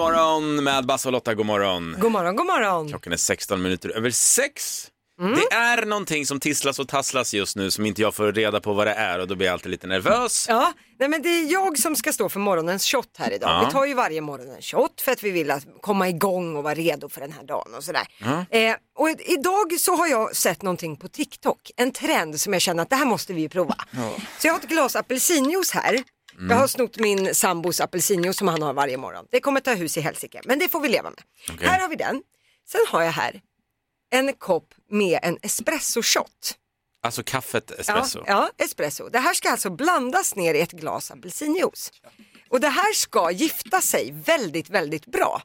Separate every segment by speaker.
Speaker 1: Energymorgon med Basse och Lotta, god morgon.
Speaker 2: God morgon, god morgon.
Speaker 1: Klockan är 16 minuter över 6.
Speaker 2: Mm.
Speaker 1: Det är någonting som tisslas och tasslas just nu som inte jag får reda på vad det är och då blir jag alltid lite nervös.
Speaker 2: Ja, nej men det är jag som ska stå för morgonens shot här idag.
Speaker 1: Ja.
Speaker 2: Vi tar ju varje morgon en shot för att vi vill att komma igång och vara redo för den här dagen och sådär. Eh, och i- idag så har jag sett någonting på TikTok, en trend som jag känner att det här måste vi ju prova. Så jag har ett glas apelsinjuice här.
Speaker 1: Mm.
Speaker 2: Jag har snott min sambos apelsinjuice som han har varje morgon. Det kommer ta hus i helsike, men det får vi leva med.
Speaker 1: Okej.
Speaker 2: Här har vi den. Sen har jag här en kopp med en espresso shot.
Speaker 1: Alltså kaffet espresso.
Speaker 2: Ja, ja, espresso. Det här ska alltså blandas ner i ett glas apelsinjuice. Och det här ska gifta sig väldigt, väldigt bra.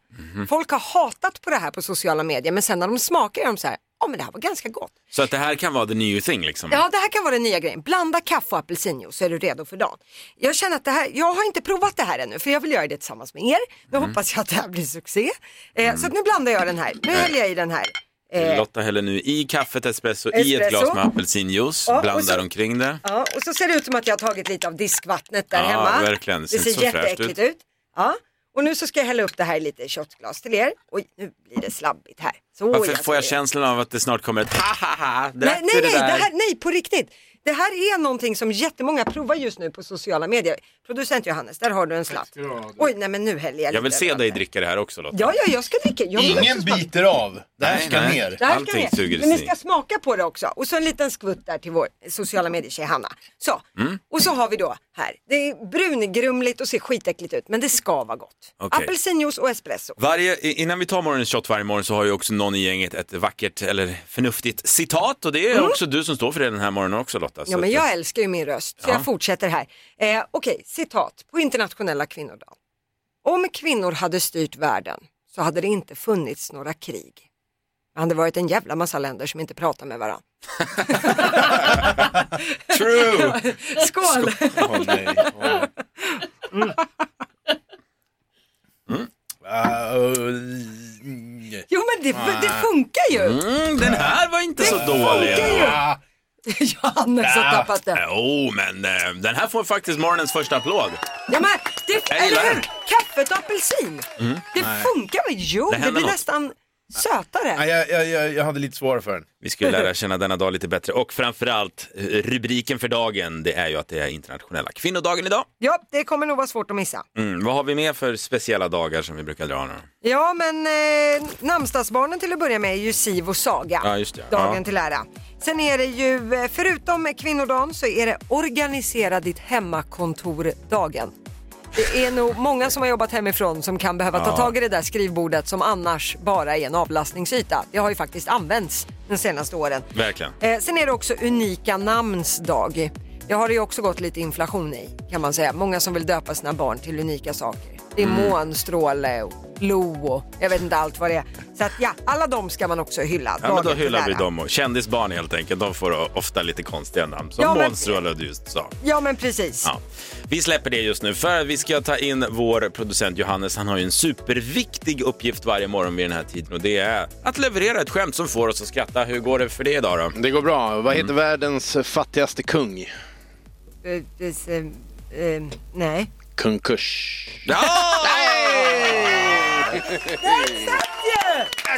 Speaker 2: Folk har hatat på det här på sociala medier men sen när de smakar är de så här, ja men det här var ganska gott.
Speaker 1: Så att det här kan vara the new thing liksom.
Speaker 2: Ja, det här kan vara den nya grejen. Blanda kaffe och apelsinjuice så är du redo för dagen. Jag känner att det här, jag har inte provat det här ännu för jag vill göra det tillsammans med er. Nu hoppas jag att det här blir succé. Eh, Så att nu blandar jag den här. Nu häller jag i den här. Eh,
Speaker 1: Lotta häller nu i kaffet espresso, i ett
Speaker 2: Espresso.
Speaker 1: glas med apelsinjuice,
Speaker 2: Ja, och
Speaker 1: blandar
Speaker 2: så-
Speaker 1: omkring det.
Speaker 2: Ja, och så ser det ut som att jag har tagit lite av diskvattnet där
Speaker 1: Ja,
Speaker 2: hemma.
Speaker 1: verkligen. Det
Speaker 2: Det
Speaker 1: ser
Speaker 2: ser,
Speaker 1: inte så fräscht
Speaker 2: jätteäckligt ut. Ja. Och nu så ska jag hälla upp det här i lite shotglas till er. Oj, nu blir det slabbigt här. Så
Speaker 1: Varför får jag
Speaker 2: ser det.
Speaker 1: känslan av att det snart kommer ett ha ha ha, drack
Speaker 2: Nej,
Speaker 1: du
Speaker 2: nej, nej,
Speaker 1: det där?
Speaker 2: det här, nej, på riktigt. Det här är någonting som jättemånga provar just nu på sociala medier. Producent Johannes, där har du en slatt. Oj, nej men nu häller jag
Speaker 1: Jag vill
Speaker 2: lite
Speaker 1: se
Speaker 2: över.
Speaker 1: dig dricka det här också Lotta.
Speaker 2: Ja, ja, jag ska dricka. Jag vill
Speaker 3: Ingen
Speaker 2: också smaka.
Speaker 3: biter av. Det här
Speaker 1: Nej,
Speaker 3: ska
Speaker 1: nej.
Speaker 3: ner.
Speaker 2: Det här
Speaker 1: Allting
Speaker 2: ska
Speaker 1: suger i
Speaker 2: ni. Men ni
Speaker 1: sig.
Speaker 2: ska smaka på det också. Och så en liten skvutt där till vår sociala medier-tjej Hanna. Så.
Speaker 1: Mm.
Speaker 2: Och så har vi då här. Det är brungrumligt och ser skitäckligt ut men det ska vara gott.
Speaker 1: Okej.
Speaker 2: Apelsinjuice och espresso.
Speaker 1: Varje, i- innan vi tar morgonens shot varje morgon så har ju också någon i gänget ett vackert eller förnuftigt citat och det är också du som står för det den här morgonen också Lotta. Så
Speaker 2: Mm. Ja men
Speaker 1: att- eh,
Speaker 2: jag älskar ju min röst så jag fortsätter här. Eh, Okej, citat på internationella kvinnodagen. Om kvinnor hade styrt världen så hade det inte funnits några krig. Det hade varit en jävla massa länder som inte pratar med varandra.
Speaker 1: True!
Speaker 2: Skål!
Speaker 3: Åh, nej. Åh.
Speaker 4: Mm.
Speaker 3: Ah, uh, mm.
Speaker 2: Jo men det, det funkar ju!
Speaker 1: Mm, den här var inte så dålig.
Speaker 2: funkar ju.
Speaker 3: Ah,
Speaker 2: Johannes har
Speaker 3: Ah.
Speaker 2: tappat det.
Speaker 1: Jo, men eh, den här får faktiskt morgonens första applåd.
Speaker 2: Ja, men det,
Speaker 1: Jag gillar
Speaker 2: eller hur?
Speaker 1: den.
Speaker 2: Kaffet och apelsin. Det funkar väl? Jo,
Speaker 1: Mm. Det
Speaker 2: det,
Speaker 1: händer
Speaker 2: blir
Speaker 1: något.
Speaker 2: nästan sötare.
Speaker 3: nej, jag, jag, jag, jag hade lite svårare för den.
Speaker 1: Vi ska ju lära känna denna dag lite bättre och framförallt eh, rubriken för dagen det är ju att det är internationella kvinnodagen idag.
Speaker 2: Ja, det kommer nog vara svårt att missa.
Speaker 1: Mm, vad har vi mer för speciella dagar som vi brukar dra nu?
Speaker 2: Ja, men eh, namnsdagsbarnen till att börja med är ju Siv och Saga.
Speaker 1: Ja, just det.
Speaker 2: Dagen
Speaker 1: Ja.
Speaker 2: till ära. Sen är det ju, eh, förutom kvinnodagen, så är det organisera ditt hemmakontor-dagen. Det är nog många som har jobbat hemifrån som kan behöva ta tag i det där skrivbordet som annars bara är en avlastningsyta. Det har ju faktiskt använts de senaste åren.
Speaker 1: Verkligen.
Speaker 2: Eh, sen är det också unika namns dag. Det har det ju också gått lite inflation i kan man säga. Många som vill döpa sina barn till unika saker. Det är
Speaker 1: Mm.
Speaker 2: mån, stråle och lo och jag vet inte allt vad det är. Så att ja, alla de ska man också hylla.
Speaker 1: Ja, men då
Speaker 2: Dagen till
Speaker 1: hyllar vi
Speaker 2: ära.
Speaker 1: dem. och- Kändisbarn helt enkelt, de får ofta lite konstiga namn. Som
Speaker 2: Ja, men-
Speaker 1: Månstråle du just sa.
Speaker 2: Ja men precis.
Speaker 1: Ja. Vi släpper det just nu för vi ska ta in vår producent Johannes. Han har ju en superviktig uppgift varje morgon vid den här tiden och det är att leverera ett skämt som får oss att skratta. Hur går det för det idag då?
Speaker 4: Det går bra. Vad
Speaker 3: Mm.
Speaker 4: heter världens fattigaste kung?
Speaker 2: Eh, det- eh, eh, nej.
Speaker 4: Kung Kush.
Speaker 1: Ja!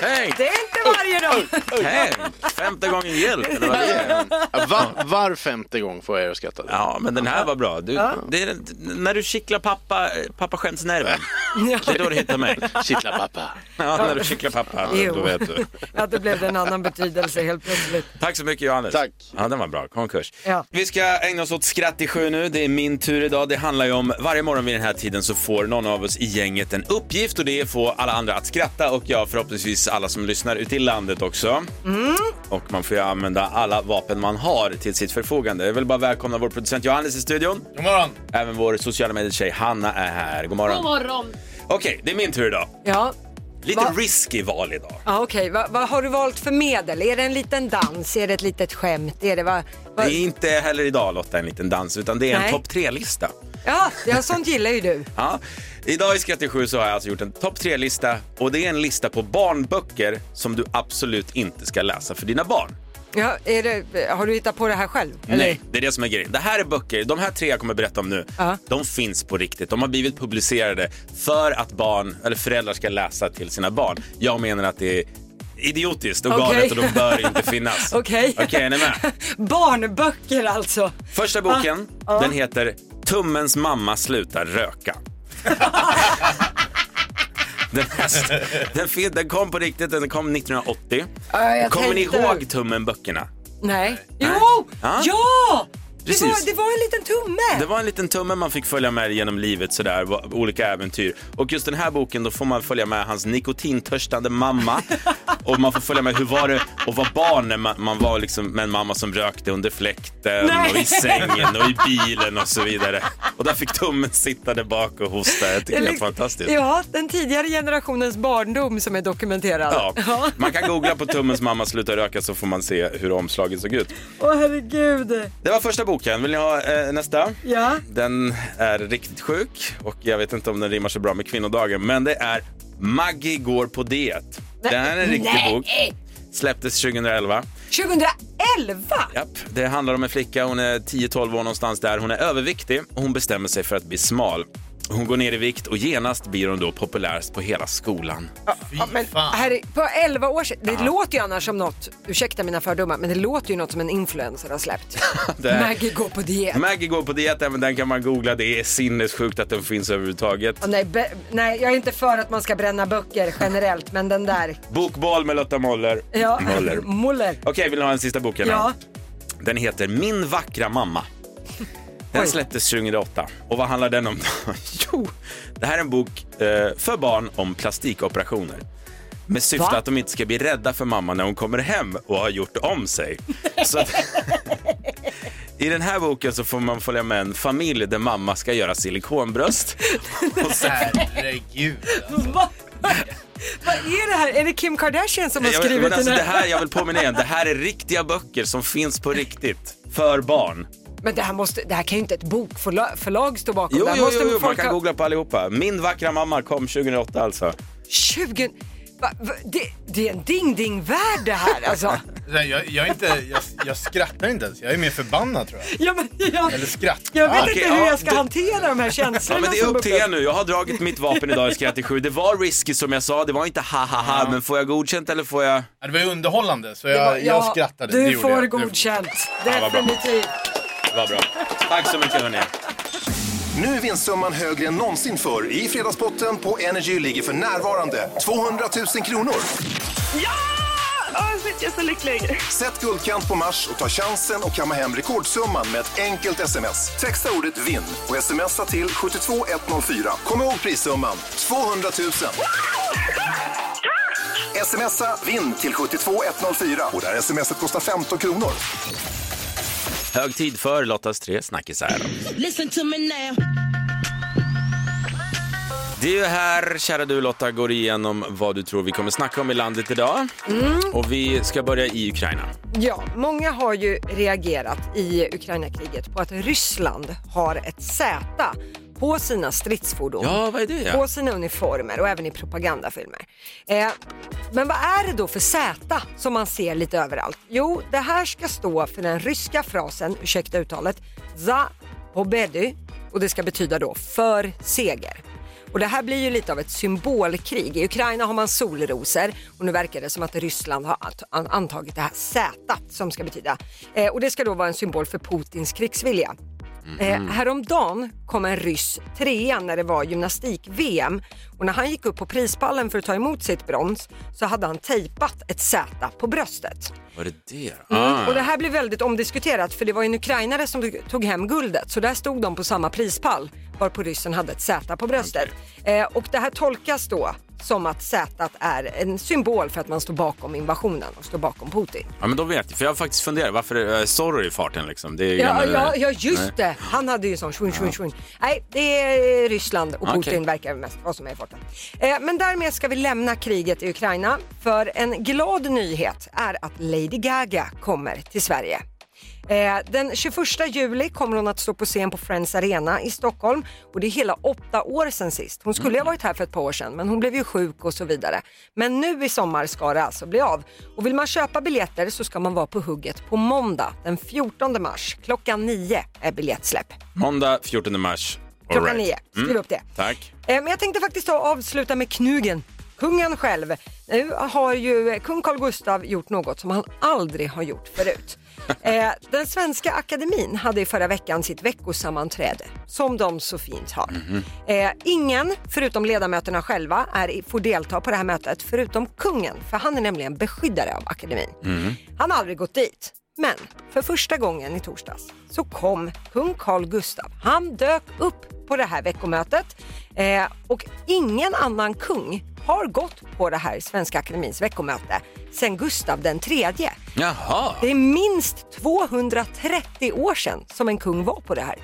Speaker 1: Tänk,
Speaker 2: Det är inte varje dag.
Speaker 1: tänk! Femte gången gillt, eller vad det är.
Speaker 4: Va, var femte gång får jag er att skratta.
Speaker 1: Ja, men den här var bra. Du, det är, när du kittlar pappa, pappa skämtsnerven, det är då du hittar mig.
Speaker 4: Kittla pappa.
Speaker 1: Ja, när du kittlar pappa, då
Speaker 2: Jo.
Speaker 1: vet du.
Speaker 2: Att det blev en annan betydelse helt plötsligt.
Speaker 1: Tack så mycket Johannes.
Speaker 4: Tack.
Speaker 1: Ja, den var bra. Konkurs.
Speaker 2: Ja.
Speaker 1: Vi ska ägna oss åt skratt i sjö nu. Det är min tur idag. Det handlar ju om varje morgon vid den här tiden så får någon av oss i gänget en uppgift och det är att få alla andra att skratta och jag förhoppningsvis alla som lyssnar ute i landet också.
Speaker 2: Mm.
Speaker 1: Och man får ju använda alla vapen man har till sitt förfogande. Jag vill bara välkomna vår producent Johannes i studion.
Speaker 3: God morgon.
Speaker 1: Även vår sociala medier-tjej Hanna är här. God morgon.
Speaker 5: God morgon!
Speaker 1: Okej, det är min tur idag.
Speaker 2: Ja.
Speaker 1: Lite
Speaker 2: Va?
Speaker 1: risky val idag.
Speaker 2: Ja, Okej, vad vad har du valt för medel? Är det en liten dans? Är det ett litet skämt? Är det vad?
Speaker 1: Det
Speaker 2: vad-
Speaker 1: är inte heller idag Lotta en liten dans utan det är en
Speaker 2: Nej.
Speaker 1: topp tre-lista.
Speaker 2: Ja, ja, sånt gillar ju du.
Speaker 1: Ja. Idag i Skratt till sju så har jag alltså gjort en topp tre-lista och det är en lista på barnböcker som du absolut inte ska läsa för dina barn.
Speaker 2: Ja, är det, har du hittat på det här själv?
Speaker 1: Nej, det är det som är grejen. Det här är böcker, de här tre jag kommer berätta om nu,
Speaker 2: Ja.
Speaker 1: de finns på riktigt. De har blivit publicerade för att barn, eller föräldrar ska läsa till sina barn. Jag menar att det är idiotiskt och
Speaker 2: Okej.
Speaker 1: galet och de bör inte finnas.
Speaker 2: Okej.
Speaker 1: är ni med?
Speaker 2: Barnböcker alltså.
Speaker 1: Första boken,
Speaker 2: Ah, ah.
Speaker 1: den heter Tummens mamma slutar röka. den, här, st- den, fin- den kom på riktigt, den kom 1980.
Speaker 2: Ja, jag
Speaker 1: Kommer ni
Speaker 2: tänkte-
Speaker 1: ihåg Tummen-böckerna?
Speaker 2: Nej. Jo!
Speaker 1: Ja.
Speaker 2: Ja! Det
Speaker 1: Precis.
Speaker 2: var, det var en liten tumme.
Speaker 1: Det var en liten tumme man fick följa med genom livet sådär, va- olika äventyr. Och just den här boken då får man följa med hans nikotintörstande mamma och man får följa med hur var det att vara barn när man, man var liksom med en mamma som rökte under fläkten
Speaker 2: Nej.
Speaker 1: och i sängen och i bilen och så vidare. Och där fick tummen sitta där bak och hosta. Jag tycker det är
Speaker 2: liksom-
Speaker 1: fantastiskt.
Speaker 2: Ja, den tidigare generationens barndom som är dokumenterad.
Speaker 1: Ja. Man kan googla på tummens mamma slutar röka så får man se hur omslaget såg ut.
Speaker 2: Åh herregud.
Speaker 1: Det var första boken. Vill ni ha eh, nästa?
Speaker 2: Ja.
Speaker 1: Den är riktigt sjuk och jag vet inte om den rimmar så bra med kvinnodagen men det är Maggie går på diet.
Speaker 2: Nej.
Speaker 1: Det här är en riktig
Speaker 2: Nej.
Speaker 1: bok. Släpptes 2011.
Speaker 2: 2011!
Speaker 1: Japp. Det handlar om en flicka, hon är 10-12 år någonstans där. Hon är överviktig och hon bestämmer sig för att bli smal. Hon går ner i vikt och genast blir hon då populärst på hela skolan.
Speaker 3: Fy
Speaker 2: Ja, men
Speaker 3: fan.
Speaker 2: här, är- på 11 år sedan, det låter ju annars som något, ursäkta mina fördomar, men det låter ju något som en influencer har släppt.
Speaker 1: Det är-
Speaker 2: Maggie går på diet.
Speaker 1: Maggie går på diet, även den kan man googla. Det är sinnessjukt att den finns överhuvudtaget.
Speaker 2: Åh, nej, be, nej, jag är inte för att man ska bränna böcker generellt, men den där.
Speaker 1: Bokbal med Lotta Moller.
Speaker 2: Ja.
Speaker 1: Moller.
Speaker 2: Muller.
Speaker 1: Okej, vill ni ha den sista boken? då?
Speaker 2: Ja.
Speaker 1: Den heter Min vackra mamma. Den
Speaker 2: Oj.
Speaker 1: släpptes 2008. Och vad handlar den om? då? jo, det här är en bok eh, för barn om plastikoperationer. Med syfte
Speaker 2: Va?
Speaker 1: att de inte ska bli rädda för mamma när hon kommer hem och har gjort om sig. Så att, I den här boken så får man följa med en familj där mamma ska göra silikonbröst. Och sen,
Speaker 3: Herregud.
Speaker 2: Va? Vad är det här? Är det Kim Kardashian som har
Speaker 1: jag, men
Speaker 2: skrivit
Speaker 1: alltså,
Speaker 2: den
Speaker 1: det
Speaker 2: här?
Speaker 1: här, jag vill påminna igen, det här är riktiga böcker som finns på riktigt. För barn.
Speaker 2: Men det här, måste, det här kan ju inte ett bokförlag förlag stå bakom.
Speaker 1: Jo,
Speaker 2: det här
Speaker 1: jo,
Speaker 2: måste
Speaker 1: jo, jo man
Speaker 2: folk
Speaker 1: kan
Speaker 2: ha-
Speaker 1: googla på allihopa. Min vackra mamma kom 2008 alltså.
Speaker 2: 20... Va, va, det, det är en ding-ding-värld det här alltså.
Speaker 3: Nej, Jag, jag, är inte, jag, jag skrattar inte ens. Jag är mer förbannad tror jag.
Speaker 2: ja, men, jag,
Speaker 3: Eller skratt.
Speaker 2: jag vet
Speaker 1: Ah, okej,
Speaker 2: inte hur
Speaker 1: ja,
Speaker 2: jag ska
Speaker 1: det-
Speaker 2: hantera de här känslorna.
Speaker 1: Ja, men det är
Speaker 2: som
Speaker 1: upp till
Speaker 2: bubblar.
Speaker 1: er nu. Jag har dragit mitt vapen idag i skratt i sju. Det var risky som jag sa, det var inte ha ha ha, men får jag godkänt eller får jag...
Speaker 3: Ja, Det var ju underhållande så jag,
Speaker 2: Det var-
Speaker 3: jag
Speaker 2: ja,
Speaker 3: skrattade. det
Speaker 2: Du
Speaker 3: gjorde
Speaker 2: får
Speaker 3: jag.
Speaker 2: godkänt.
Speaker 1: vad bra.
Speaker 2: Definitivt.
Speaker 1: Vad bra. Tack så mycket hörni.
Speaker 5: Nu är vinstsumman högre än någonsin förr i Fredagspotten på Energy ligger för närvarande 200 000 kronor.
Speaker 6: Ja! Oh, shit, jag är så lycklig.
Speaker 5: Sätt guldkant på mars och ta chansen och kamma hem rekordsumman med ett enkelt sms. Texta ordet vinn och smsa till 72104. Kom ihåg prissumman, 200 000. Smsa vinn till 72104 och det här smset kostar 15 kronor.
Speaker 1: Hög tid för Lottas tre snackisar.
Speaker 7: Listen to me now.
Speaker 1: Det är ju här, kära du Lotta, går igenom vad du tror vi kommer snacka om i landet idag. Och vi ska börja i Ukraina.
Speaker 2: Ja, många har ju reagerat i Ukraina-kriget på att Ryssland har ett Z på sina stridsfordon.
Speaker 1: Ja, vad är det?
Speaker 2: på sina uniformer och även i propagandafilmer. Eh, men vad är det då för Z som man ser lite överallt? Jo, det här ska stå för den ryska frasen, ursäkta uttalet, za pobedy och det ska betyda då för seger. Och det här blir ju lite av ett symbolkrig. I Ukraina har man solrosor och nu verkar det som att Ryssland har ant- an- antagit det här Z som ska betyda. Eh, och det ska då vara en symbol för Putins krigsvilja. Eh, häromdagen kom en ryss trea när det var gymnastik-VM och när han gick upp på prispallen för att ta emot sitt brons så hade han tejpat ett Z på bröstet.
Speaker 1: Vad är det? då?
Speaker 2: Mm.
Speaker 1: Ah.
Speaker 2: Och det här blev väldigt omdiskuterat för det var en ukrainare som tog hem guldet så där stod de på samma prispall varpå ryssen hade ett Z på bröstet. Eh, och det här tolkas då som att Z är en symbol för att man står bakom invasionen och står bakom Putin.
Speaker 1: Ja, men då vet jag. För jag har faktiskt funderat, varför är sorry i farten liksom? Det är ju
Speaker 2: Ja,
Speaker 1: gamla-
Speaker 2: ja, ja just det. Han hade ju sån svun, svun, svun. Nej, det är Ryssland och Putin
Speaker 1: Okej.
Speaker 2: verkar mest vara som är i farten. Eh, men därmed ska vi lämna kriget i Ukraina. För en glad nyhet är att Lady Gaga kommer till Sverige. Eh, Den 21 juli kommer hon att stå på scen på Friends Arena i Stockholm och det är hela åtta år sedan sist. Hon skulle ju
Speaker 1: Mm.
Speaker 2: ha varit här för ett par år sedan men hon blev ju sjuk och så vidare. Men nu i sommar ska det alltså bli av. Och vill man köpa biljetter så ska man vara på hugget på måndag den 14 mars. Klockan 9 är biljettsläpp.
Speaker 1: Måndag 14 mars. All
Speaker 2: Klockan
Speaker 1: right. Mm.
Speaker 2: nio. Skriv upp det.
Speaker 1: Tack.
Speaker 2: Eh, Men jag tänkte faktiskt ta och avsluta med knugen. Kungen själv. Nu har ju eh, kung Carl Gustav gjort något som han aldrig har gjort förut. Eh, Den svenska akademin hade i förra veckan sitt veckosammanträde som de så fint har. Eh, Ingen, förutom ledamöterna själva, är, i- får delta på det här mötet förutom kungen, för han är nämligen beskyddare av akademin. Han har aldrig gått dit. Men för första gången i torsdags så kom kung Carl Gustav. Han dök upp på det här veckomötet eh, och ingen annan kung har gått på det här Svenska Akademins veckomöte sedan Gustav den tredje.
Speaker 1: Jaha.
Speaker 2: Det är minst 230 år sedan som en kung var på det här.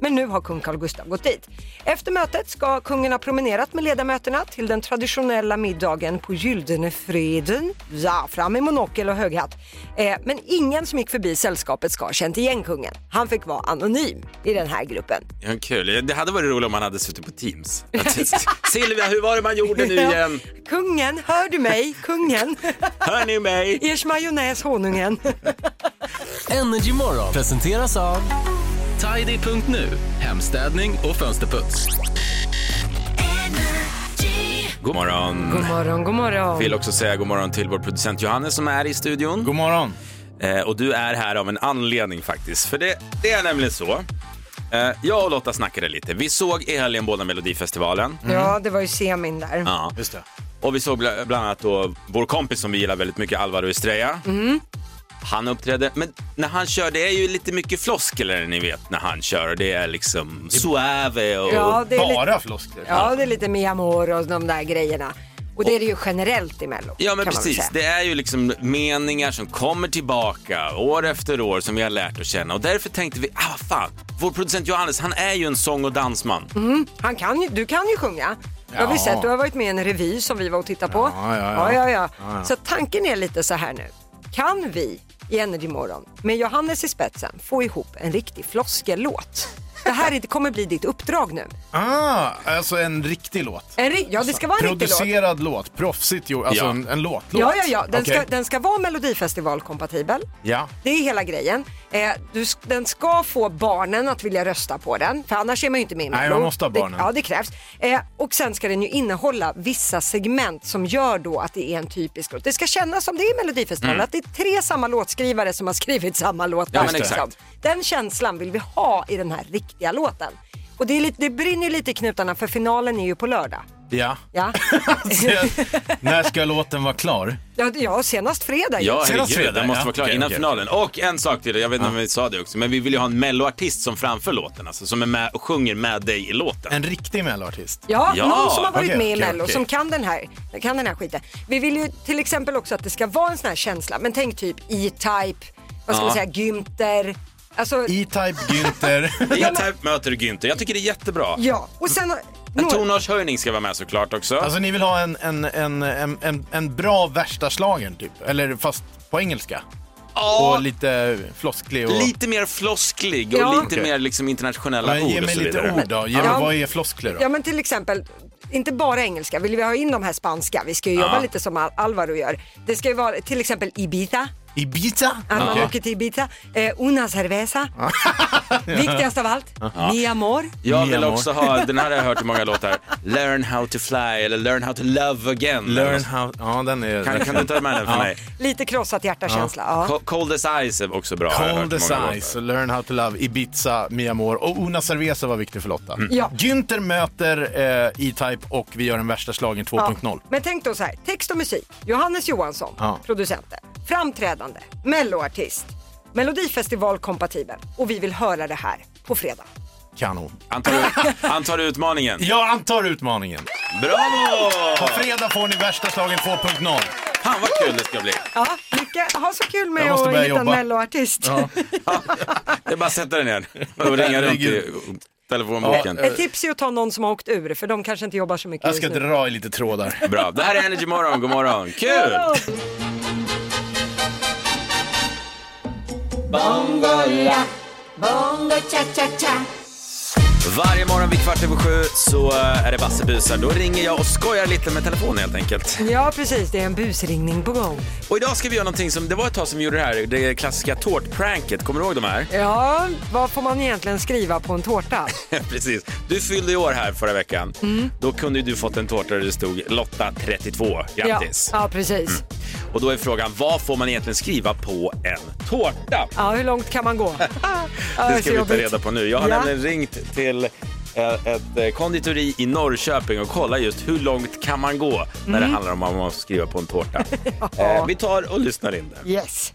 Speaker 2: Men nu har kung Carl Gustav gått dit. Efter mötet ska kungen ha promenerat med ledamöterna till den traditionella middagen på Gyldene Freden. Ja, fram i monokel och höghatt. Eh, men ingen som gick förbi sällskapet ska ha känt igen kungen. Han fick vara anonym i den här gruppen.
Speaker 1: Ja, kul. Det hade varit roligt om man hade suttit på Teams. Att- Silvia, hur var det man gjorde nu igen?
Speaker 2: Kungen, hör du mig? Kungen,
Speaker 1: Hör ni mig?
Speaker 2: ers majonnäs honungen.
Speaker 7: Energy Morgon presenteras av Tidy.nu, hemstädning och fönsterputs.
Speaker 1: God morgon.
Speaker 2: God morgon, god morgon.
Speaker 1: Vill också säga god morgon till vår producent Johannes som är i studion.
Speaker 3: God morgon.
Speaker 1: Eh, och du är här av en anledning faktiskt. För det, det är nämligen så. Eh, jag och Lotta snackade lite. Vi såg i helgen båda Melodifestivalen.
Speaker 2: Ja, det var ju semin där.
Speaker 1: Ja.
Speaker 3: Just det.
Speaker 1: Och vi såg bla- bland annat då vår kompis som vi gillar väldigt mycket, Alvaro Estrella. Han uppträdde, men när han kör, det är ju lite mycket floskler ni vet när han kör. Det är liksom suave och...
Speaker 2: Ja, det är lite-
Speaker 3: Bara floskler.
Speaker 2: Ja, det är lite Mi Amor och de där grejerna. Och det är det ju generellt i Mello.
Speaker 1: Ja men
Speaker 2: kan man väl
Speaker 1: precis,
Speaker 2: säga.
Speaker 1: det är ju liksom meningar som kommer tillbaka år efter år som vi har lärt att känna och därför tänkte vi, ah fan, vår producent Johannes han är ju en sång och dansman.
Speaker 2: Han kan ju, du kan ju sjunga. Det har vi
Speaker 3: Ja.
Speaker 2: sett, du har varit med i en revy som vi var och tittade på.
Speaker 3: Ja, ja, ja.
Speaker 2: ja, ja. Så tanken är lite så här nu. Kan vi i Energy Morgon med Johannes i spetsen få ihop en riktig floskellåt? Det här är- det kommer bli ditt uppdrag nu.
Speaker 3: Ah, alltså en riktig låt.
Speaker 2: En ri- ja, det ska vara en riktig låt.
Speaker 3: Producerad låt. Proffsigt gjord. Alltså
Speaker 1: Ja.
Speaker 3: en, en låt.
Speaker 2: Ja, ja, ja. Den,
Speaker 3: Okej.
Speaker 2: ska, den ska vara Melodifestivalkompatibel.
Speaker 3: Ja.
Speaker 2: Det är hela grejen. Eh, du, sk- den ska få barnen att vilja rösta på den, för annars är man ju inte med i
Speaker 3: Nej,
Speaker 2: Mello.
Speaker 3: man måste ha barnen.
Speaker 2: Det, ja, det krävs. Eh, och sen ska den ju innehålla vissa segment som gör då att det är en typisk låt. Det ska kännas som det är i Melodifestivalen,
Speaker 3: Mm.
Speaker 2: att det är tre samma låtskrivare som har skrivit samma låt.
Speaker 1: Ja, men
Speaker 2: Liksom.
Speaker 1: exakt.
Speaker 2: Den känslan vill vi ha i den här riktiga låten. Och det, är lite, det brinner ju lite i knutarna för finalen är ju på lördag.
Speaker 3: ja.
Speaker 2: Ja,
Speaker 3: När ska låten vara klar?
Speaker 2: ja, det- ja senast fredag ju.
Speaker 1: Ja,
Speaker 3: Senast
Speaker 1: herregud,
Speaker 3: fredag,
Speaker 1: den måste
Speaker 3: ja.
Speaker 1: vara klar
Speaker 3: Okej,
Speaker 1: innan
Speaker 3: okej.
Speaker 1: finalen. Och en sak till, jag vet inte om vi sa det också, men vi vill ju ha en melloartist som framför låten, alltså som är med och sjunger med dig i låten.
Speaker 3: En riktig melloartist.
Speaker 2: Ja,
Speaker 1: Ja,
Speaker 2: någon som har varit
Speaker 3: okej,
Speaker 2: med i
Speaker 3: okej,
Speaker 2: Mello
Speaker 3: okej.
Speaker 2: som kan den, här, kan den här skiten. Vi vill ju till exempel också att det ska vara en sån här känsla, men tänk typ E-Type, vad ska
Speaker 1: Ja.
Speaker 2: man säga, Günther. Alltså,
Speaker 3: E-Type, Günther.
Speaker 1: E-Type typ möter Günther, jag tycker det är jättebra.
Speaker 2: ja, och sen...
Speaker 1: En
Speaker 2: några-
Speaker 1: tonartshöjning ska vara med såklart också.
Speaker 3: Alltså ni vill ha en, en, en, en, en, en bra värsta slagern typ? Eller fast på engelska?
Speaker 1: Ja,
Speaker 3: Och lite flosklig och...
Speaker 1: lite mer flosklig och
Speaker 2: Ja.
Speaker 1: lite
Speaker 3: Okej.
Speaker 1: mer liksom internationella
Speaker 3: Men
Speaker 1: ord
Speaker 3: ge
Speaker 1: och
Speaker 3: mig
Speaker 1: så
Speaker 3: lite
Speaker 1: vidare.
Speaker 3: ord då. Ge mig,
Speaker 2: Ja.
Speaker 3: Vad är floskler då?
Speaker 2: Ja men till exempel, inte bara engelska, vill vi ha in de här spanska, vi ska ju jobba lite som Al- Alvaro gör. Det ska ju vara till exempel Ibiza,
Speaker 3: Ibiza?
Speaker 2: att man
Speaker 3: Okej.
Speaker 2: åker till Ibiza, eh, una cerveza, viktigast av allt, mi amor.
Speaker 1: Jag
Speaker 3: Mia
Speaker 1: vill
Speaker 3: Moore.
Speaker 1: också ha, den här har jag hört i många låtar, Learn how to fly eller Learn how to love again.
Speaker 3: Learn how... Ja, den är...
Speaker 1: Kan, kan du ta med den för
Speaker 3: Ja.
Speaker 1: mig?
Speaker 2: Lite krossat hjärta-känsla. Ja.
Speaker 1: Co- Cold as ice är också bra. har jag hört
Speaker 3: Cold
Speaker 1: i
Speaker 3: as
Speaker 1: många
Speaker 3: ice,
Speaker 1: låtar.
Speaker 3: Learn how to love, Ibiza, Mi Amor och Una Cerveza var viktig för Lotta.
Speaker 2: Mm. Ja.
Speaker 3: Günther möter eh, E-Type och vi gör den värsta slagen 2.0.
Speaker 2: Men tänk då så här, text och musik, Johannes Johansson,
Speaker 3: Ja.
Speaker 2: producenten, framträdande, melloartist, melodifestivalkompatibel och vi vill höra det här på fredag.
Speaker 3: Kanon.
Speaker 1: Antar du, antar du utmaningen?
Speaker 3: Jag antar utmaningen.
Speaker 1: Bravo!
Speaker 3: På fredag får ni värsta slagen 2.0.
Speaker 1: Fan vad kul det ska bli.
Speaker 2: Ja, lycka, ha så kul med
Speaker 3: Jag måste
Speaker 2: att
Speaker 3: börja
Speaker 2: hitta en
Speaker 3: jobba.
Speaker 2: melloartist.
Speaker 1: Det är bara att sätta den ner och ringa runt i telefonboken.
Speaker 2: Ett tips är att ta någon som har åkt ur för de kanske inte jobbar så mycket
Speaker 3: Jag ska
Speaker 2: just nu.
Speaker 3: dra i lite trådar.
Speaker 1: Bra. Det här är Energy Morgon. God morgon. Kul! Varje morgon vid kvart över sju så eh, är det Bassebusar. Då ringer jag och skojar lite med telefonen helt enkelt.
Speaker 2: Ja, precis. Det är en busringning på gång.
Speaker 1: Och idag ska vi göra någonting som, det var ett tag som vi gjorde det här, det klassiska tårtpranket. Kommer du ihåg de här?
Speaker 2: Ja, vad får man egentligen skriva på en tårta?
Speaker 1: Precis. Du fyllde i år här förra veckan. Då kunde ju du fått en tårta där det stod Lotta 32. Grattis!
Speaker 2: Ja, ja precis.
Speaker 1: Och då är frågan, vad får man egentligen skriva på en tårta?
Speaker 2: Ja, hur långt kan man gå? Ja, är
Speaker 1: Det ska
Speaker 2: så
Speaker 1: vi ta
Speaker 2: jobbigt.
Speaker 1: reda på nu. Jag har
Speaker 2: Ja.
Speaker 1: nämligen ringt till eh, ett eh, konditori i Norrköping och kollat just hur långt kan man gå när
Speaker 2: Mm.
Speaker 1: det handlar om vad man ska skriva på en tårta. Eh, Vi tar och lyssnar in det.
Speaker 2: Yes.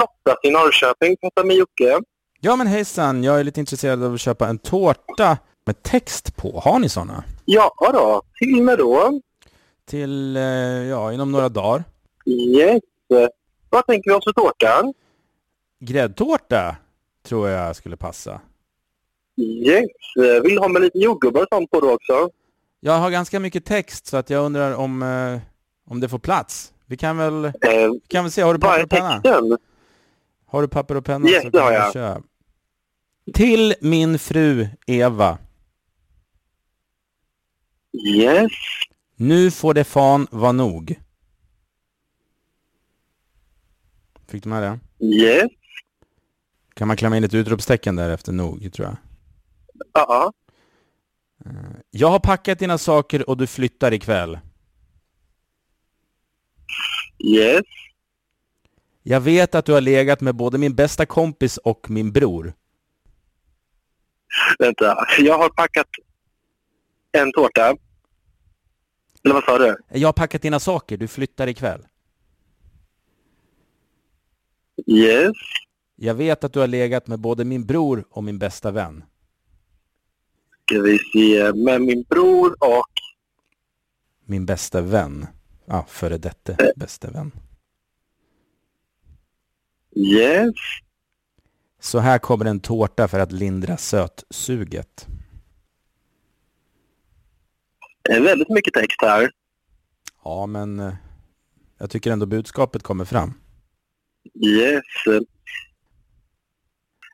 Speaker 8: Lotta i Norrköping, pratar med Jocke.
Speaker 9: Ja men hejsan, jag är lite intresserad av att köpa en tårta med text på. Har ni sådana?
Speaker 8: Ja då, till mig då.
Speaker 9: Till, eh, ja, inom några dagar.
Speaker 8: Yes. Vad tänker vi oss för tårta?
Speaker 9: Gräddtårta tror jag skulle passa.
Speaker 8: Yes. Vill du ha med lite jordgubbar och sånt på då också?
Speaker 9: Jag har ganska mycket text så att jag undrar om, eh, om det får plats. Vi kan väl,
Speaker 8: Eh,
Speaker 9: vi kan väl se, har du
Speaker 8: vad
Speaker 9: papper
Speaker 8: är
Speaker 9: och penna?
Speaker 8: texten?
Speaker 9: Har du papper och penna?
Speaker 8: Yes,
Speaker 9: så
Speaker 8: det
Speaker 9: kan
Speaker 8: har
Speaker 9: vi
Speaker 8: jag.
Speaker 9: köra. Till min fru Eva.
Speaker 8: Yes.
Speaker 9: Nu får det fan vara nog. Fick du med det?
Speaker 8: Yes.
Speaker 9: Kan man klämma in ett utropstecken där efter nog, tror jag. Eh,
Speaker 8: Ja. ja.
Speaker 9: Jag har packat dina saker och du flyttar ikväll.
Speaker 8: Yes.
Speaker 9: Jag vet att du har legat med både min bästa kompis och min bror.
Speaker 8: Vänta. Jag har packat en tårta. Eller vad sa du?
Speaker 9: Jag har packat dina saker, du flyttar ikväll.
Speaker 8: Yes.
Speaker 9: Jag vet att du har legat med både min bror och min bästa vän.
Speaker 8: Ska vi se. Med min bror och...
Speaker 9: Min bästa vän. Ja, före detta
Speaker 8: Eh,
Speaker 9: bästa vän.
Speaker 8: Yes.
Speaker 9: Så här kommer en tårta för att lindra sötsuget.
Speaker 8: Det är väldigt mycket text här.
Speaker 9: Ja, men eh, jag tycker ändå budskapet kommer fram.
Speaker 8: Yes.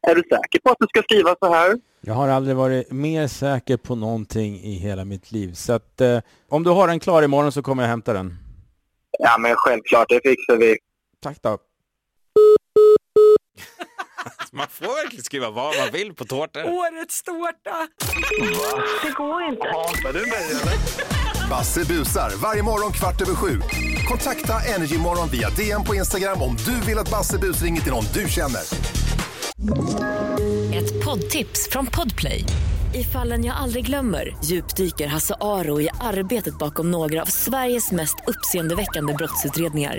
Speaker 8: Är du säker på att du ska skriva så här?
Speaker 9: Jag har aldrig varit mer säker på någonting i hela mitt liv. Så att, eh, om du har den klar imorgon så kommer jag hämta den.
Speaker 8: Ja, men självklart. Det fixar vi.
Speaker 9: Tack då.
Speaker 1: Man får verkligen skriva vad man vill på tårtor.
Speaker 2: Årets tårta!
Speaker 6: Det går inte.
Speaker 5: Basse busar varje morgon kvart över sju. Kontakta Energymorgon via DM på Instagram om du vill att Basse bus ringer till någon du känner.
Speaker 10: Ett poddtips från Podplay. I fallen jag aldrig glömmer djupdyker Hasse Aro i arbetet bakom några av Sveriges mest uppseendeväckande brottsutredningar.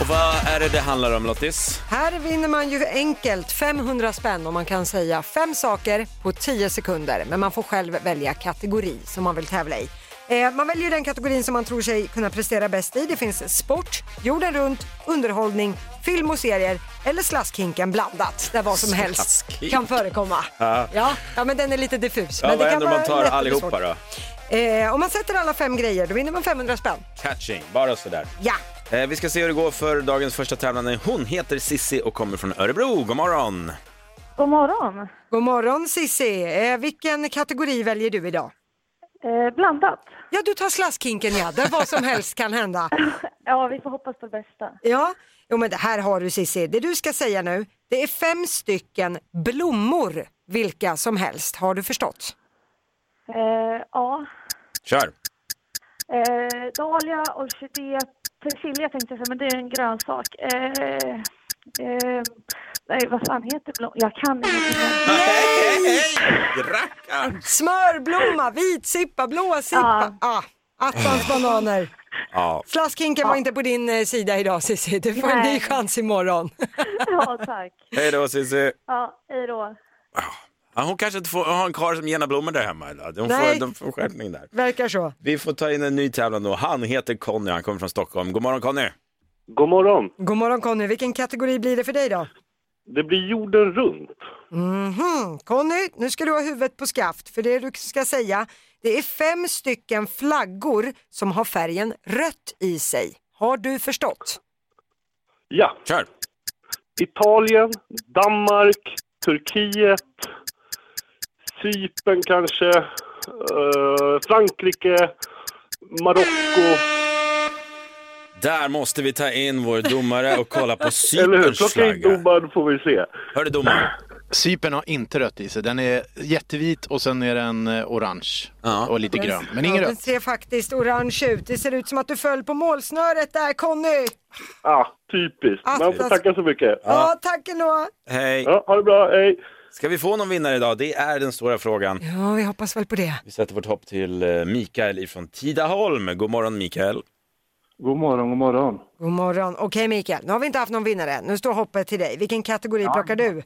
Speaker 1: Och vad är det det handlar om Lottis?
Speaker 2: Här vinner man ju enkelt 500 spänn om man kan säga fem saker på 10 sekunder. Men man får själv välja kategori som man vill tävla i. Eh, man väljer den kategorin som man tror sig kunna prestera bäst i. Det finns sport, jorden runt, underhållning, film och serier eller slaskhinken blandat. Där vad som helst
Speaker 1: Slaskhink.
Speaker 2: kan förekomma. Ja. Ja, men den är lite diffus.
Speaker 1: Ja,
Speaker 2: men
Speaker 1: vad
Speaker 2: det kan
Speaker 1: händer om man
Speaker 2: vara
Speaker 1: tar
Speaker 2: lätt att bli
Speaker 1: allihopa
Speaker 2: svårt.
Speaker 1: då?
Speaker 2: Eh, om man sätter alla fem grejer då vinner man 500 spänn.
Speaker 1: Catching, bara sådär.
Speaker 2: Ja!
Speaker 1: Eh, Vi ska se hur det går för dagens första tävlande. Hon heter Sissi och kommer från Örebro. God morgon!
Speaker 6: God morgon.
Speaker 2: God morgon Sissi. Eh, vilken kategori väljer du idag?
Speaker 6: Eh, blandat.
Speaker 2: Ja, du tar slaskhinken ja, där vad som helst kan hända.
Speaker 6: Ja, vi får hoppas på det bästa.
Speaker 2: Ja, jo men det här har du Cissi. Det du ska säga nu, det är fem stycken blommor, vilka som helst. Har du förstått?
Speaker 6: Eh, ja.
Speaker 1: Kör!
Speaker 6: Eh, dahlia, orkidé, persilja tänkte jag säga, men det är en grönsak. Eh, eh, nej, vad fan heter blom? Jag kan inte.
Speaker 1: Rackarn!
Speaker 2: Smörblomma, vitsippa, blåsippa. Ah. Attans bananer.
Speaker 1: Ja,
Speaker 2: Slaskhinken var inte på din eh, sida idag Cissi. Du får en
Speaker 6: Nej.
Speaker 2: ny chans imorgon.
Speaker 6: Ja, tack.
Speaker 1: hej då Cissi!
Speaker 6: Ja, hej då.
Speaker 1: Ja, hon kanske inte får ha en karl som Gena Blommor där hemma idag. De
Speaker 2: Nej.
Speaker 1: får, de får skärpning där.
Speaker 2: Verkar så.
Speaker 1: Vi får ta in en ny tävlande då. Han heter Conny, han kommer från Stockholm. God morgon Conny!
Speaker 8: God morgon.
Speaker 2: God morgon Conny, vilken kategori blir det för dig då?
Speaker 8: Det blir jorden runt.
Speaker 2: Mhm. Conny, nu ska du ha huvudet på skaft för det du ska säga det är fem stycken flaggor som har färgen rött i sig. Har du förstått?
Speaker 8: Ja.
Speaker 1: Kör.
Speaker 8: Italien, Danmark, Turkiet, Cypern kanske, eh, Frankrike, Marocko.
Speaker 1: Där måste vi ta in vår domare och kolla på
Speaker 8: Eller hur?
Speaker 1: Cyperns
Speaker 8: Plocka in
Speaker 1: flagga.
Speaker 8: domaren får vi se.
Speaker 1: Hörru domaren.
Speaker 3: Cypern har inte rött i sig. Den är jättevit och sen är den eh, orange och lite grön. Men ingen
Speaker 2: ja, den
Speaker 3: rött.
Speaker 2: ser faktiskt orange ut. Det ser ut som att du föll på målsnöret där Conny.
Speaker 8: Ah, typiskt.
Speaker 2: Ah,
Speaker 8: Men får
Speaker 2: fast-
Speaker 8: tacka så mycket.
Speaker 2: Ja, tack ändå.
Speaker 1: Hej!
Speaker 8: Ja, ha det bra, hej!
Speaker 1: Ska vi få någon vinnare idag? Det är den stora frågan.
Speaker 2: Ja, vi hoppas väl på det.
Speaker 1: Vi sätter vårt hopp till eh, Mikael ifrån Tidaholm. God morgon Mikael!
Speaker 11: God morgon, god morgon.
Speaker 2: God morgon. Okej Mikael, nu har vi inte haft någon vinnare än. Nu står hoppet till dig. Vilken kategori plockar du?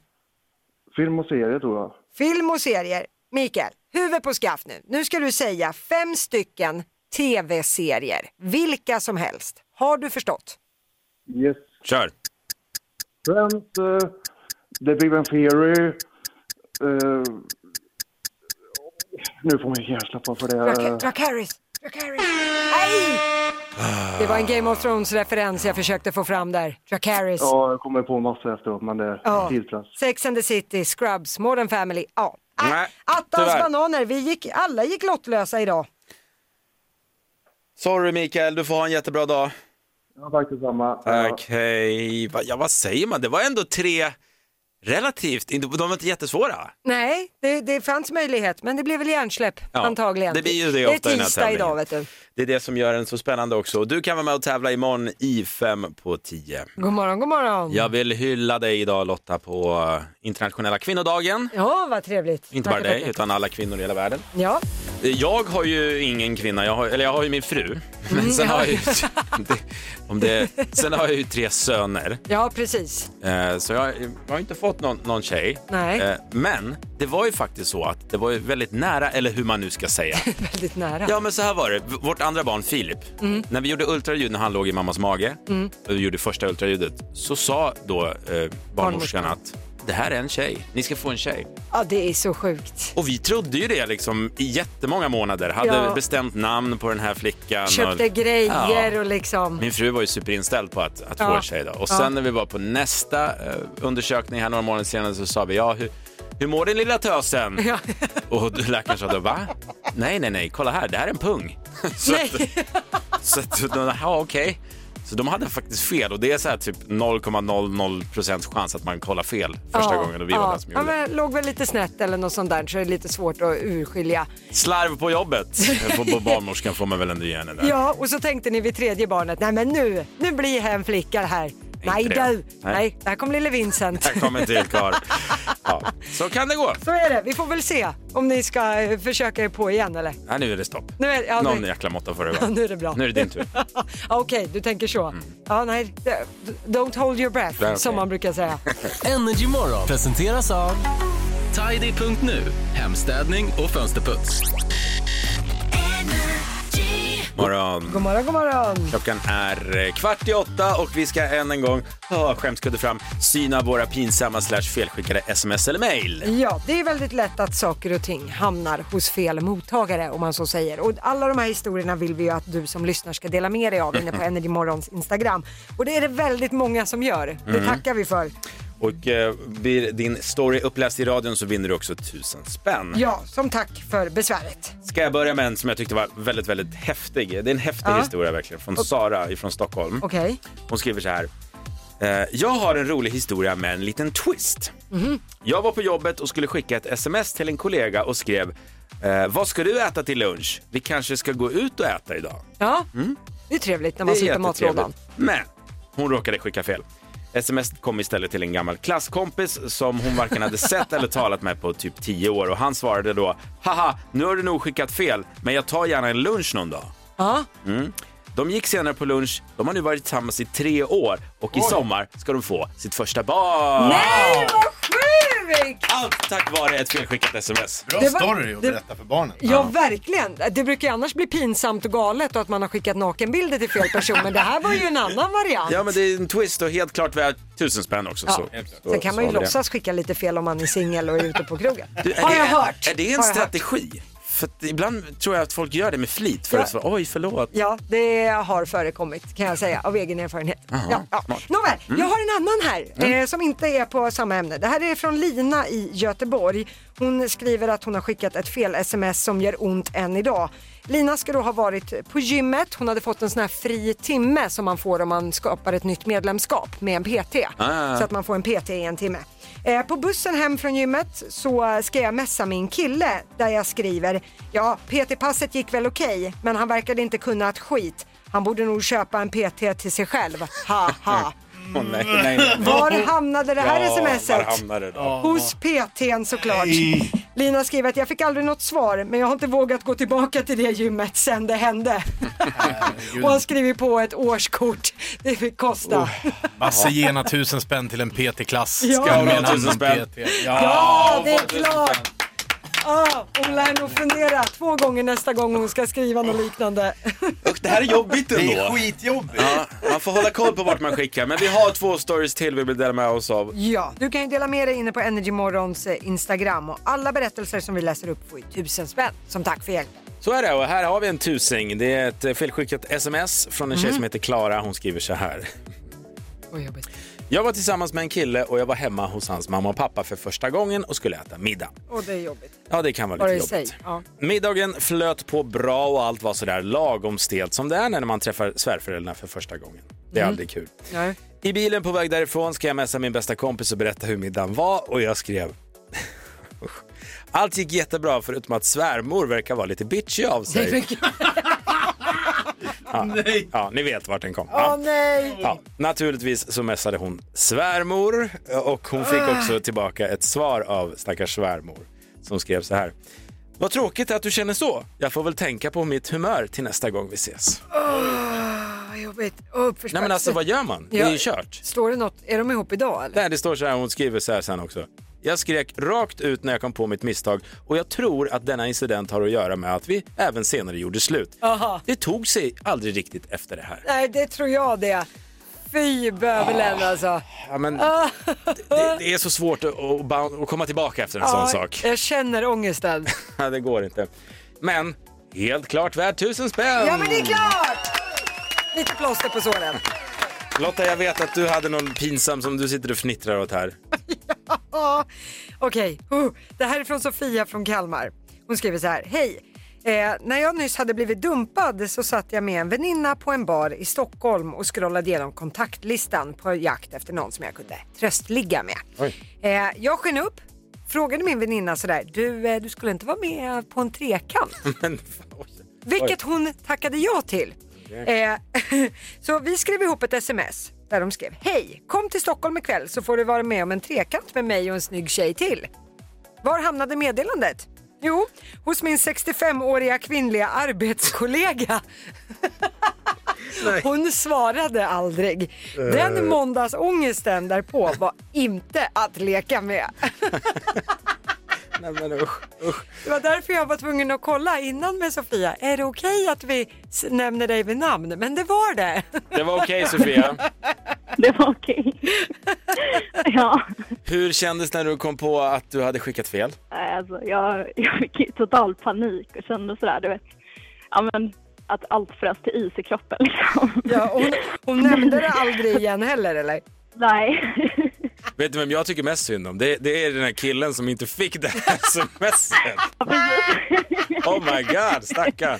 Speaker 11: Film och serie tror jag.
Speaker 2: Film och serier. Mikael, huvud på skaft nu. Nu ska du säga fem stycken tv-serier, vilka som helst. Har du förstått?
Speaker 11: Yes.
Speaker 1: Kör!
Speaker 11: Friends, eh, The Big Bang Theory. eh, nu får man ju hjärnsläpp för det.
Speaker 9: Eh.
Speaker 2: Drac- Drac Harris. Drac Harris. Nej! Det var en Game of Thrones-referens jag försökte få fram där. Drac Harris.
Speaker 11: Ja, jag kommer på massa efteråt, men det är
Speaker 2: Ja.
Speaker 11: tidspress.
Speaker 2: Sex and the City, Scrubs, Modern Family. Ja. Äh,
Speaker 11: Nej,
Speaker 2: Attans
Speaker 1: tyvärr.
Speaker 2: bananer, vi gick, alla gick lottlösa idag.
Speaker 1: Sorry Mikael, du får ha en jättebra dag.
Speaker 11: Ja, tack detsamma.
Speaker 1: Tack, hej. Va- Ja, vad säger man? Det var ändå tre relativt, inte- de var inte jättesvåra.
Speaker 2: Nej, det, det fanns möjlighet, men det blev väl hjärnsläpp
Speaker 1: Ja,
Speaker 2: antagligen.
Speaker 1: det blir ju det
Speaker 2: är
Speaker 1: ofta i den här
Speaker 2: tisdag
Speaker 1: tävlingen.
Speaker 2: idag vet du.
Speaker 1: Det är det som gör den så spännande också. Och Du kan vara med och tävla imorgon i fem på tio.
Speaker 2: God morgon, god morgon.
Speaker 1: Jag vill hylla dig idag Lotta på eh, internationella kvinnodagen.
Speaker 2: Ja, vad trevligt.
Speaker 1: Inte bara
Speaker 2: Tackar,
Speaker 1: dig,
Speaker 2: tackar.
Speaker 1: utan alla kvinnor i hela världen.
Speaker 2: Ja,
Speaker 1: Eh, Jag har ju ingen kvinna, jag har, eller jag har ju min fru.
Speaker 2: Mm.
Speaker 1: Men sen, har jag ju, det, om det, sen har jag ju tre söner.
Speaker 2: ja precis.
Speaker 1: Eh, Så jag, jag har inte fått någon, någon tjej.
Speaker 2: Nej.
Speaker 1: Eh, Men det var ju faktiskt så att det var ju väldigt nära, eller hur man nu ska säga.
Speaker 2: Väldigt nära.
Speaker 1: Ja men så här var det, V- vårt andra barn Filip, Mm. när vi gjorde ultraljud när han låg i mammas mage,
Speaker 2: Mm.
Speaker 1: och vi gjorde första ultraljudet, så sa då eh, barnmorskan
Speaker 2: Barnmorskan.
Speaker 1: att det här är en tjej, ni ska få en tjej.
Speaker 2: Ja, det är så sjukt.
Speaker 1: Och vi trodde ju det liksom i jättemånga månader, hade
Speaker 2: Ja.
Speaker 1: bestämt namn på den här flickan.
Speaker 2: Köpte
Speaker 1: och...
Speaker 2: grejer
Speaker 1: Ja.
Speaker 2: och liksom.
Speaker 1: Min fru var ju superinställd på att, att
Speaker 2: Ja.
Speaker 1: få en tjej då. Och
Speaker 2: Ja.
Speaker 1: sen när vi var på nästa eh, undersökning här några månader senare så sa vi ja, hur, hur mår din lilla tösen?
Speaker 2: Ja.
Speaker 1: Och då läkaren sa då, va? Nej, nej, nej, kolla här, det här är en pung. så att, så att, de, ja, okej. Så de hade faktiskt fel och det är så här typ 0,00 procents chans att man kollar fel första
Speaker 2: ja,
Speaker 1: gången och vi
Speaker 2: ja.
Speaker 1: var den som
Speaker 2: ja,
Speaker 1: gjorde det.
Speaker 2: men Låg väl lite snett eller något sånt där så är det lite svårt att urskilja.
Speaker 1: Slarv på jobbet, på, på barnmorskan får man väl ändå ge henne där.
Speaker 2: Ja, och så tänkte ni vid tredje barnet, nej men nu, nu blir det en flicka det här. Nej
Speaker 1: det.
Speaker 2: du,
Speaker 1: Nej.
Speaker 2: nej, där kom lille Vincent.
Speaker 1: Här kommer en till karl. Ja, så kan det gå.
Speaker 2: Så är det, vi får väl se om ni ska eh, försöka er på igen eller?
Speaker 1: Nej, nu är det stopp.
Speaker 2: Nu är det- ja,
Speaker 1: Någon
Speaker 2: nu-
Speaker 1: jäkla måtta får det
Speaker 2: Ja,
Speaker 1: vara.
Speaker 2: nu är det bra.
Speaker 1: Nu är det din tur. Mm.
Speaker 2: Ja, Okej, du tänker så. Ja, nej, d- don't hold your breath,
Speaker 7: Där, okej.
Speaker 2: som man brukar säga.
Speaker 7: Energy Morgon presenteras av Tidy.nu, hemstädning och fönsterputs.
Speaker 1: Morgon.
Speaker 2: God morgon, god morgon.
Speaker 1: Klockan är eh, kvart i åtta och vi ska än en gång, oh, skämskudde fram, syna våra pinsamma slash felskickade sms eller mail.
Speaker 2: Ja, det är väldigt lätt att saker och ting hamnar hos fel mottagare om man så säger. Och alla de här historierna vill vi ju att du som lyssnar ska dela med dig av inne på Energy Morgons Instagram. Och det är det väldigt många som gör. Det
Speaker 1: Mm.
Speaker 2: tackar vi för.
Speaker 1: Och eh, blir din story uppläst i radion så vinner du också tusen spänn.
Speaker 2: Ja, som tack för besväret.
Speaker 1: Ska jag börja med en som jag tyckte var väldigt, väldigt häftig. Det är en häftig
Speaker 2: Ja.
Speaker 1: historia verkligen, från
Speaker 2: Och-
Speaker 1: Sara ifrån Stockholm.
Speaker 2: Okej.
Speaker 1: Hon skriver så här. eh, Jag har en rolig historia med en liten twist.
Speaker 2: Mhm.
Speaker 1: Jag var på jobbet och skulle skicka ett sms till en kollega och skrev eh, Vad ska du äta till lunch? Vi kanske ska gå ut och äta idag.
Speaker 2: Ja,
Speaker 1: Mm.
Speaker 2: det är trevligt när man
Speaker 1: Det är
Speaker 2: sitter i matlådan.
Speaker 1: jättetrevligt. Men hon råkade skicka fel. Sms kom istället till en gammal klasskompis som hon varken hade sett eller talat med på typ 10 år och han svarade då Haha, nu har du nog skickat fel, men jag tar gärna en lunch någon dag.
Speaker 2: Ja,
Speaker 1: Mm.
Speaker 12: De gick senare på lunch, de har nu varit tillsammans i tre år och i sommar ska de få sitt första barn.
Speaker 2: Nej, vad sjukt!
Speaker 12: Allt tack vare ett felskickat sms.
Speaker 2: Bra Det var- story att det-
Speaker 3: berätta för barnen.
Speaker 2: Ja, verkligen. Det brukar ju annars bli pinsamt och galet och att man har skickat nakenbilder till fel person. Men det här var ju en annan variant.
Speaker 12: Ja, men det är en twist och helt klart värt tusen spänn också.
Speaker 2: Ja.
Speaker 12: Så, så,
Speaker 2: Sen kan man ju
Speaker 12: så har vi det.
Speaker 2: låtsas skicka lite fel om man är singel och är ute på krogen.
Speaker 12: Du, är
Speaker 2: har
Speaker 12: det,
Speaker 2: jag hört.
Speaker 12: Är det en
Speaker 2: Har jag hört.
Speaker 12: strategi? För att ibland tror jag att folk gör det med flit för
Speaker 2: Ja.
Speaker 12: att svara oj förlåt.
Speaker 2: Ja, det har förekommit kan jag säga av egen erfarenhet.
Speaker 12: Jaha, Mm.
Speaker 2: Ja, ja. Nåväl, jag har en annan här eh, som inte är på samma ämne. Det här är från Lina i Göteborg. Hon skriver att hon har skickat ett fel sms som gör ont än idag. Lina ska då ha varit på gymmet. Hon hade fått en sån här fri timme som man får om man skapar ett nytt medlemskap med en PT.
Speaker 13: Ah.
Speaker 2: Så att man får en PT i en timme. Eh, På bussen hem från gymmet så ska jag messa min kille där jag skriver Ja, PT-passet gick väl okej, men han verkade inte kunna ett skit. Han borde nog köpa en PT till sig själv. Ha, ha.
Speaker 12: Åh, nej, nej, nej.
Speaker 2: Var hamnade det här
Speaker 12: ja,
Speaker 2: smset?
Speaker 12: Var hamnade det då?
Speaker 2: Hos PTn såklart. Lina skriver att jag fick aldrig något svar, men jag har inte vågat gå tillbaka till det gymmet sen det hände. Och han skriver på ett årskort. Det fick kosta.
Speaker 3: Basse ge ena tusen spänn till en PT-klass.
Speaker 2: Ja.
Speaker 3: Ska jag med
Speaker 12: Ja,
Speaker 3: en
Speaker 12: tusen
Speaker 3: annan
Speaker 12: spänn.
Speaker 3: PT?
Speaker 2: Ja, det är klart! Ja, hon lär nog fundera två gånger nästa gång hon ska skriva något liknande.
Speaker 12: Det här är jobbigt ändå.
Speaker 3: Det är skitjobbigt.
Speaker 12: Ja, man får hålla koll på vart man skickar. Men vi har två stories till vi vill dela med oss av.
Speaker 2: Ja, du kan ju dela med dig inne på Energy Morgons eh, Instagram och alla berättelser som vi läser upp får ju tusen spänn som tack för hjälpen.
Speaker 1: Så är det och här har vi en tusing. Det är ett eh, felskickat sms från en tjej
Speaker 2: Mhm.
Speaker 1: som heter Klara. Hon skriver så här.
Speaker 2: Vad jobbigt.
Speaker 1: Jag var tillsammans med en kille och jag var hemma hos hans mamma och pappa för första gången och skulle äta middag.
Speaker 2: Och det är jobbigt.
Speaker 1: Ja, det kan
Speaker 2: Bara
Speaker 1: vara
Speaker 2: i
Speaker 1: lite
Speaker 2: sig.
Speaker 1: jobbigt.
Speaker 2: Ja.
Speaker 1: Middagen flöt på bra och allt var sådär lagom stelt som det är när man träffar svärföräldrarna för första gången. Det är
Speaker 12: Mm.
Speaker 1: aldrig kul.
Speaker 2: Nej.
Speaker 1: I bilen på väg därifrån ska jag messa min bästa kompis och berätta hur middagen var och jag skrev Allt gick jättebra förutom att svärmor verkar vara lite bitchy av sig. Ja, ja, ni vet vart den kom.
Speaker 2: Åh
Speaker 1: Ja.
Speaker 2: nej!
Speaker 1: Ja, naturligtvis så messade hon svärmor eh, och hon fick
Speaker 2: Ah.
Speaker 1: också tillbaka ett svar av stackars svärmor som skrev så här. Vad tråkigt att du känner så. Jag får väl tänka på mitt humör till nästa gång vi ses.
Speaker 2: Åh, vad jobbigt. Oh,
Speaker 1: Nej men alltså vad gör man? Det är ju kört.
Speaker 2: Står det något? Är de ihop idag eller?
Speaker 1: Nej, det står så här, hon skriver så här sen också. Jag skrek rakt ut när jag kom på mitt misstag och jag tror att denna incident har att göra med att vi även senare gjorde slut.
Speaker 2: Aha.
Speaker 1: Det tog sig aldrig riktigt efter det här.
Speaker 2: Nej, det tror jag det. Fy bövelen alltså.
Speaker 1: Ja, men
Speaker 2: Ah.
Speaker 1: det, det är så svårt att, att, boun- att komma tillbaka efter en sån
Speaker 2: Ja,
Speaker 1: sak.
Speaker 2: Jag känner ångesten.
Speaker 1: Nej, det går inte. Men helt klart värd tusen spänn!
Speaker 2: Ja men det är klart! Lite plåster på såren.
Speaker 1: Lotta, jag vet att du hade någon pinsam som du sitter och fnittrar åt här.
Speaker 2: Ja, Okej, Oh, det här är från Sofia från Kalmar. Hon skriver så här. Hej! Eh, när jag nyss hade blivit dumpad så satt jag med en väninna på en bar i Stockholm och scrollade igenom kontaktlistan på jakt efter någon som jag kunde tröstligga med. Eh, jag sken upp, frågade min väninna sådär, du, eh, du skulle inte vara med på en trekant?
Speaker 1: Men,
Speaker 2: Vilket hon tackade ja till. Eh, så vi skrev ihop ett sms där de skrev Hej, kom till Stockholm ikväll så får du vara med om en trekant med mig och en snygg tjej till. Var hamnade meddelandet? Jo, hos min 65-åriga kvinnliga arbetskollega. Hon svarade aldrig.
Speaker 13: Eh.
Speaker 2: Den måndagsångesten därpå var inte att leka med.
Speaker 1: Nej, men usch, usch.
Speaker 2: Det var därför jag var tvungen att kolla innan med Sofia. Är det okej att vi s- nämner dig vid namn? Men det var det.
Speaker 1: Det var okej Sofia.
Speaker 9: Det var okej. ja,
Speaker 1: Hur kändes när du kom på att du hade skickat fel?
Speaker 9: nej, alltså, jag, jag fick ju total panik och kände sådär, du vet, ja, men, att allt frös till is i kroppen. Liksom.
Speaker 2: Ja, hon, hon nämnde det aldrig igen heller eller?
Speaker 9: Nej.
Speaker 1: Vet du vem jag tycker mest synd om? Det, det är den här killen som inte fick det här smset. Oh my god, stackarn.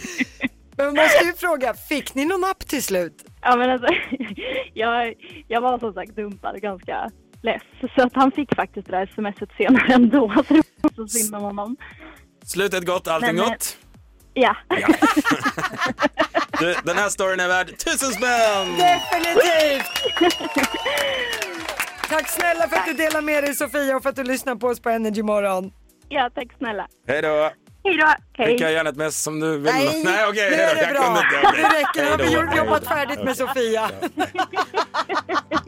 Speaker 2: Men man måste ju fråga, fick ni någon app till slut?
Speaker 9: Ja, men alltså, jag, jag var som sagt dumpad och ganska less. Så att han fick faktiskt det där smset senare ändå. Så det var så synd om honom.
Speaker 1: Slutet gott, allting
Speaker 9: Men, eh,
Speaker 1: gott.
Speaker 9: Ja.
Speaker 1: Du, den här storyn är värd tusen spänn!
Speaker 2: Definitivt! Tack snälla för att du delar med dig Sofia och för att du lyssnar på oss på Energy Morgon.
Speaker 9: ja, tack snälla.
Speaker 1: Hej då!
Speaker 14: Hej då! Hej!
Speaker 1: Skicka gärna ett mess som du vill.
Speaker 2: Nej,
Speaker 1: Nej okej.
Speaker 2: nu
Speaker 1: hej
Speaker 2: är
Speaker 1: då.
Speaker 2: det
Speaker 1: Jag kunde
Speaker 2: bra.
Speaker 1: inte, okej.
Speaker 2: Nu räcker det.
Speaker 1: Hej
Speaker 2: Har
Speaker 1: då,
Speaker 2: vi
Speaker 1: hej då.
Speaker 2: jobbat färdigt med Sofia?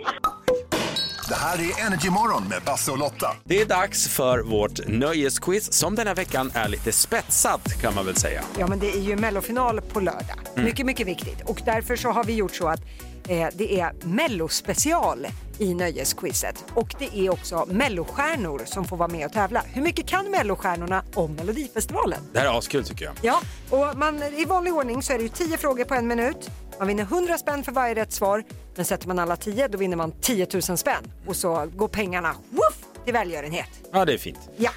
Speaker 5: Det här är Energymorgon med Basse och Lotta.
Speaker 1: Det är dags för vårt nöjesquiz som denna veckan är lite spetsat kan man väl säga.
Speaker 2: Ja, men det är ju mellofinal på lördag.
Speaker 1: Mm.
Speaker 2: Mycket, mycket viktigt. Och därför så har vi gjort så att eh, det är mellospecial i nöjesquizet. Och det är också mellostjärnor som får vara med och tävla. Hur mycket kan mellostjärnorna om Melodifestivalen?
Speaker 1: Det här är askul tycker jag.
Speaker 2: Ja, och man, i vanlig ordning så är det ju 10 frågor på en minut. Man vinner 100 spänn för varje rätt svar. Men sätter man alla 10 då vinner man 10 000 spänn. Och så går pengarna woof, till välgörenhet.
Speaker 1: Ja, det är fint.
Speaker 2: Ja.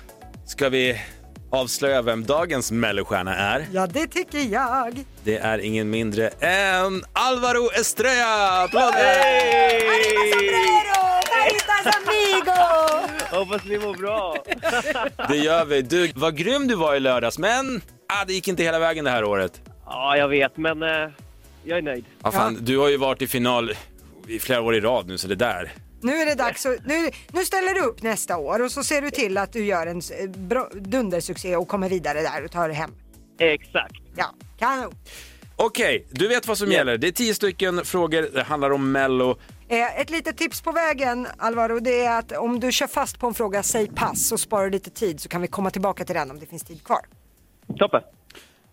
Speaker 1: Ska vi avslöja vem dagens mellostjärna är?
Speaker 2: ja, det tycker jag.
Speaker 1: Det är ingen mindre än Alvaro Estrella! Applåder!
Speaker 2: Caritas amigo!
Speaker 9: Hoppas ni mår bra.
Speaker 1: Det gör vi. Du, vad grym du var i lördags, men ah, det gick inte hela vägen det här året.
Speaker 9: ja, jag vet, men eh, jag är nöjd.
Speaker 1: Ah, fan, Du har ju varit i final i flera år i rad nu, så det där.
Speaker 2: Nu är det dags. att- Nu, nu ställer du upp nästa år och så ser du till att du gör en s- eh, bra, dundersuccé och kommer vidare där och tar det hem.
Speaker 9: Exakt.
Speaker 2: Ja, kanon.
Speaker 1: Okej, du vet vad som gäller. Det är tio stycken frågor. Det handlar om Mello.
Speaker 2: Eh, ett litet tips på vägen Alvaro, det är att om du kör fast på en fråga, säg pass så sparar du lite tid så kan vi komma tillbaka till den om det finns tid kvar.
Speaker 9: Toppen.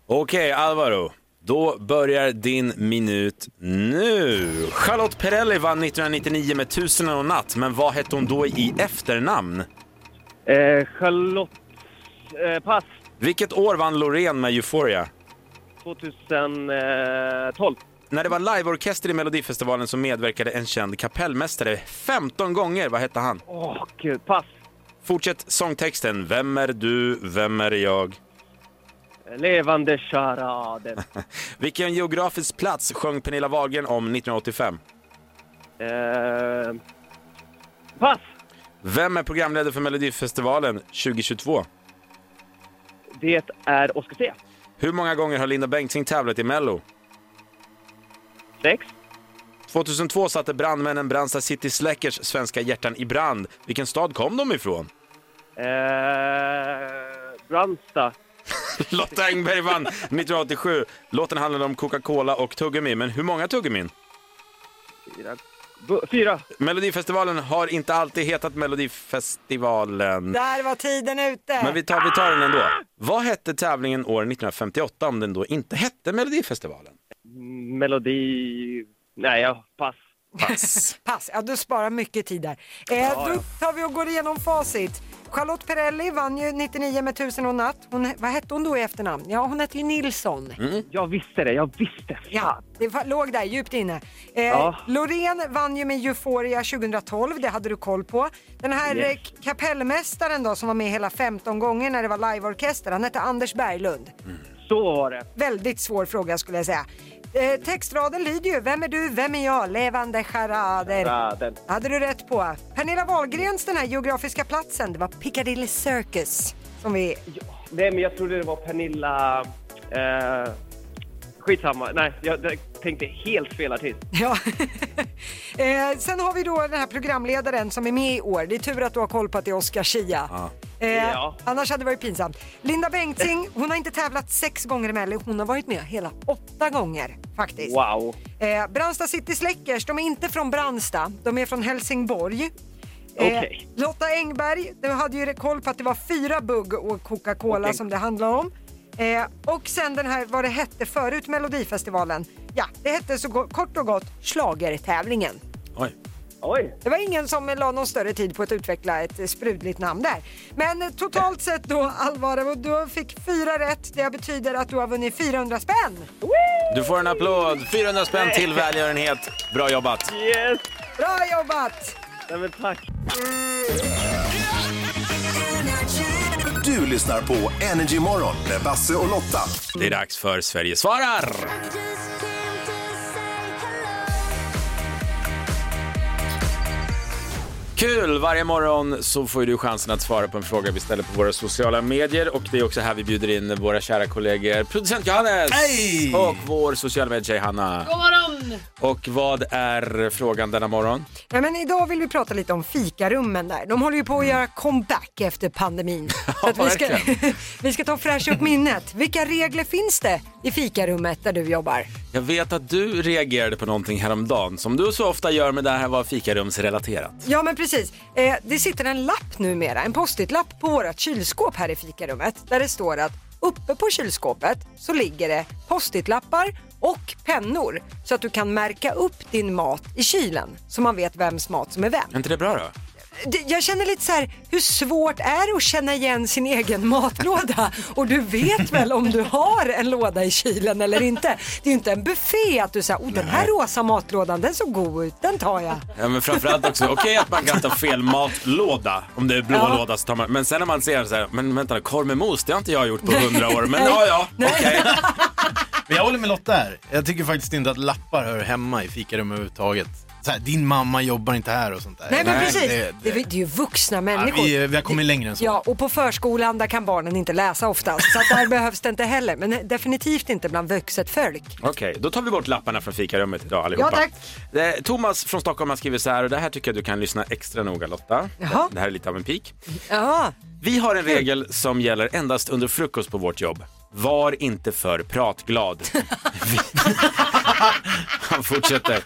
Speaker 1: Okej, Alvaro. Då börjar din minut nu. Charlotte Perrelli vann 1999 med Tusen och en natt, men vad hette hon då i efternamn?
Speaker 9: Eh, Charlotte... Eh, pass.
Speaker 1: Vilket år vann Loreen med Euphoria?
Speaker 9: 2012.
Speaker 1: När det var liveorkester i Melodifestivalen så medverkade en känd kapellmästare 15 gånger. Vad hette han?
Speaker 9: Åh, gud. Pass.
Speaker 1: Fortsätt sångtexten. Vem är du? Vem är jag?
Speaker 9: Levande charaden.
Speaker 1: Vilken geografisk plats sjöng Pernilla Wahlgren om 1985?
Speaker 9: eh, pass.
Speaker 1: Vem är programledare för Melodifestivalen 2022?
Speaker 9: Det är Oscar C.
Speaker 1: Hur många gånger har Linda Bengtzing tävlat i Mello?
Speaker 9: Sex.
Speaker 1: 2002 satte brandmännen Brandsta City Släckers svenska hjärtan i brand. Vilken stad kom de ifrån?
Speaker 9: Eh, Brandsta.
Speaker 1: Lotta Engberg vann 1987. Låten handlade om Coca-Cola och tuggummi, men hur många tuggummin?
Speaker 9: Fyra. Bu- Fyra.
Speaker 1: Melodifestivalen har inte alltid hetat Melodifestivalen.
Speaker 2: Där var tiden ute!
Speaker 1: Men vi tar, vi tar den ändå. Vad hette tävlingen år 1958 om den då inte hette Melodifestivalen?
Speaker 9: Melodi... Nej, ja, pass.
Speaker 1: Pass.
Speaker 2: Pass, ja du sparar mycket tid där. Eh,
Speaker 9: Ja,
Speaker 2: Då
Speaker 9: ja.
Speaker 2: tar vi och går igenom facit. Charlotte Perrelli vann ju 99 med Tusen och en natt. Hon, vad hette hon då i efternamn? Ja, hon hette ju Nilsson.
Speaker 9: Jag visste det, jag visste.
Speaker 2: Ja, det var, låg där djupt inne. Eh,
Speaker 9: Ja.
Speaker 2: Loreen vann ju med Euphoria 2012, det hade du koll på. Den här
Speaker 9: Yes.
Speaker 2: eh, kapellmästaren då som var med hela 15 gånger när det var liveorkester, han hette Anders Berglund.
Speaker 9: Så var det.
Speaker 2: Väldigt svår fråga skulle jag säga. Eh, textraden lyder ju Vem är du, vem är jag, levande charader.
Speaker 9: Charaden.
Speaker 2: hade du rätt på. Pernilla Wahlgrens den här geografiska platsen, det var Piccadilly Circus. Som vi...
Speaker 9: Nej, men jag trodde det var Pernilla... Eh, skitsamma. Nej, jag, jag tänkte helt fel artist.
Speaker 2: Ja. eh, sen har vi då den här programledaren som är med i år. Det är tur att du har koll på att det är Oscar Schia. Eh,
Speaker 9: Ja.
Speaker 2: Annars hade det varit pinsamt. Linda Bengtzing, hon har inte tävlat sex gånger i Mello. Hon har varit med hela åtta gånger faktiskt.
Speaker 9: Wow.
Speaker 2: Eh, Brandsta City Släckers, de är inte från Brandsta, de är från Helsingborg. Eh,
Speaker 9: Okej.
Speaker 2: Lotta Engberg, du hade ju koll på att det var fyra bugg och Coca-Cola
Speaker 9: Okej.
Speaker 2: som det handlar om. Eh, och sen den här, vad det hette förut, Melodifestivalen. Ja, det hette så go- kort och gott Schlagertävlingen.
Speaker 1: Oj.
Speaker 9: Oj.
Speaker 2: Det var ingen som la någon större tid på att utveckla ett eh, sprudligt namn där. Men eh, totalt sett då, Alvaro, du fick fyra rätt. Det betyder att du har vunnit 400 spänn.
Speaker 1: Du får en applåd. 400 spänn till välgörenhet. Bra jobbat.
Speaker 9: Yes!
Speaker 2: Bra jobbat!
Speaker 9: Nej, men tack.
Speaker 5: Du lyssnar på Energymorgon med Basse och Lotta.
Speaker 1: Det är dags för Sverige svarar. Kul! Varje morgon så får ju du chansen att svara på en fråga vi ställer på våra sociala medier och det är också här vi bjuder in våra kära kollegor producent Johannes
Speaker 15: Hej!
Speaker 1: och vår sociala medietjej Hanna.
Speaker 2: God morgon!
Speaker 1: Och vad är frågan denna morgon?
Speaker 2: Ja, men idag vill vi prata lite om fikarummen där. De håller ju på att göra comeback efter pandemin. Så att vi, ska, vi ska ta och fräscha upp minnet. Vilka regler finns det i fikarummet där du jobbar?
Speaker 1: Jag vet att du reagerade på någonting häromdagen som du så ofta gör med det här var fikarumsrelaterat.
Speaker 2: Ja men precis. Eh, det sitter en lapp numera, en post-it-lapp på vårt kylskåp här i fikarummet där det står att uppe på kylskåpet så ligger det post-it-lappar och pennor så att du kan märka upp din mat i kylen så man vet vems mat som är vem.
Speaker 1: Är inte det bra då?
Speaker 2: Det- Jag känner lite så här, hur svårt är det att känna igen sin egen matlåda? Och du vet väl om du har en låda i kylen eller inte? Det är ju inte en buffé att du säger, oh den här rosa matlådan den såg god ut, den tar jag.
Speaker 1: Ja, men framförallt också, okej att man kan ta fel matlåda om det är blå
Speaker 2: Ja.
Speaker 1: låda så tar man, men sen när man ser så här, men vänta, korv med mos, det har inte jag gjort på hundra år, men ja, ja.
Speaker 3: Men jag håller med Lotta här. Jag tycker faktiskt inte att lappar hör hemma i fikarum överhuvudtaget. Så här, din mamma jobbar inte här och sånt där.
Speaker 2: Nej men precis,
Speaker 3: det-
Speaker 2: det, det, är ju vuxna människor.
Speaker 3: vi- vi har kommit längre än så.
Speaker 2: Ja, och på förskolan där kan barnen inte läsa oftast, så att där behövs det inte heller. Men definitivt inte bland vuxet folk.
Speaker 1: Okej, då tar vi bort lapparna från fikarummet idag allihopa.
Speaker 2: Ja, tack.
Speaker 1: Eh, Thomas från Stockholm har skrivit så här, och det här tycker jag du kan lyssna extra noga Lotta.
Speaker 2: Jaha.
Speaker 1: Det här är lite av en pik.
Speaker 2: Ja.
Speaker 1: Vi har en regel som gäller endast under frukost på vårt jobb. Var inte för pratglad. Vi... Han fortsätter.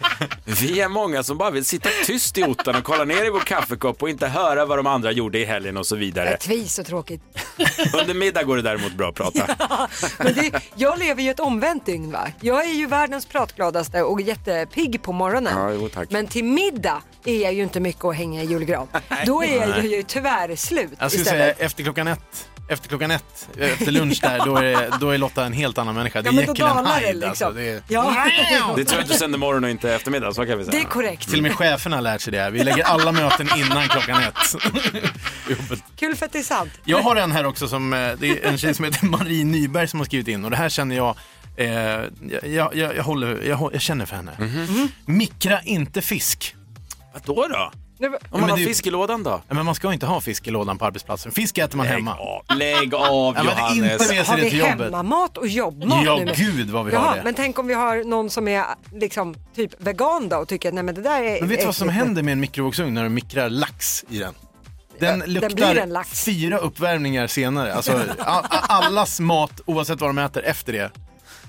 Speaker 1: Vi är många som bara vill sitta tyst i ottan och kolla ner i vår kaffekopp och inte höra vad de andra gjorde i helgen och så vidare.
Speaker 2: Rättvis och tråkigt.
Speaker 1: Under middag går det däremot bra att prata.
Speaker 2: Men det, jag lever ju ett omvänt dygn va? Jag är ju världens pratgladaste och jättepigg på morgonen.
Speaker 1: Ja, jo, tack.
Speaker 2: Men till middag är jag ju inte mycket att hänga i julgran. Då är jag ju tyvärr slut
Speaker 3: Jag skulle
Speaker 2: istället.
Speaker 3: säga efter klockan ett. Efter klockan ett, efter lunch där, då är, då är Lotta en helt annan människa. Det
Speaker 2: Ja,
Speaker 3: är
Speaker 2: men då
Speaker 3: Jekyll and
Speaker 2: dalar det
Speaker 3: Hyde.
Speaker 2: liksom.
Speaker 3: alltså, det, är,
Speaker 2: Ja.
Speaker 1: Det tror jag att du sänder morgon och inte eftermiddag, så kan vi säga.
Speaker 2: Det är korrekt.
Speaker 3: Till och med cheferna har lärt sig det här. Vi lägger alla möten innan klockan ett.
Speaker 2: Kul för att det är sant.
Speaker 3: Jag har en här också som, eh, det är en tjej som heter Marie Nyberg som har skrivit in och det här känner jag, eh, jag, jag, jag, håller, jag, hå- jag känner för henne. Mikra inte fisk.
Speaker 1: Vadå då? Om man har fisk i lådan då?
Speaker 3: Men man ska inte ha fisk i lådan på arbetsplatsen. Fisk äter man hemma.
Speaker 1: Lägg av
Speaker 3: Ja, men
Speaker 1: Johannes.
Speaker 3: inte med sig
Speaker 2: Har
Speaker 3: det
Speaker 2: vi
Speaker 3: till jobbet.
Speaker 2: hemmamat och jobbmat
Speaker 3: Ja,
Speaker 2: nu?
Speaker 3: gud, vad vi
Speaker 2: Jaha,
Speaker 3: har det.
Speaker 2: Men tänk om vi har någon som är liksom typ vegan då och tycker att nej men det där är
Speaker 3: Men vet du vad som
Speaker 2: äckligt.
Speaker 3: händer med en mikrovågsugn när du mikrar lax i den? Den
Speaker 2: Ja, den
Speaker 3: luktar
Speaker 2: blir en lax.
Speaker 3: fyra uppvärmningar senare. Alltså, a- a- allas mat, oavsett vad de äter efter det,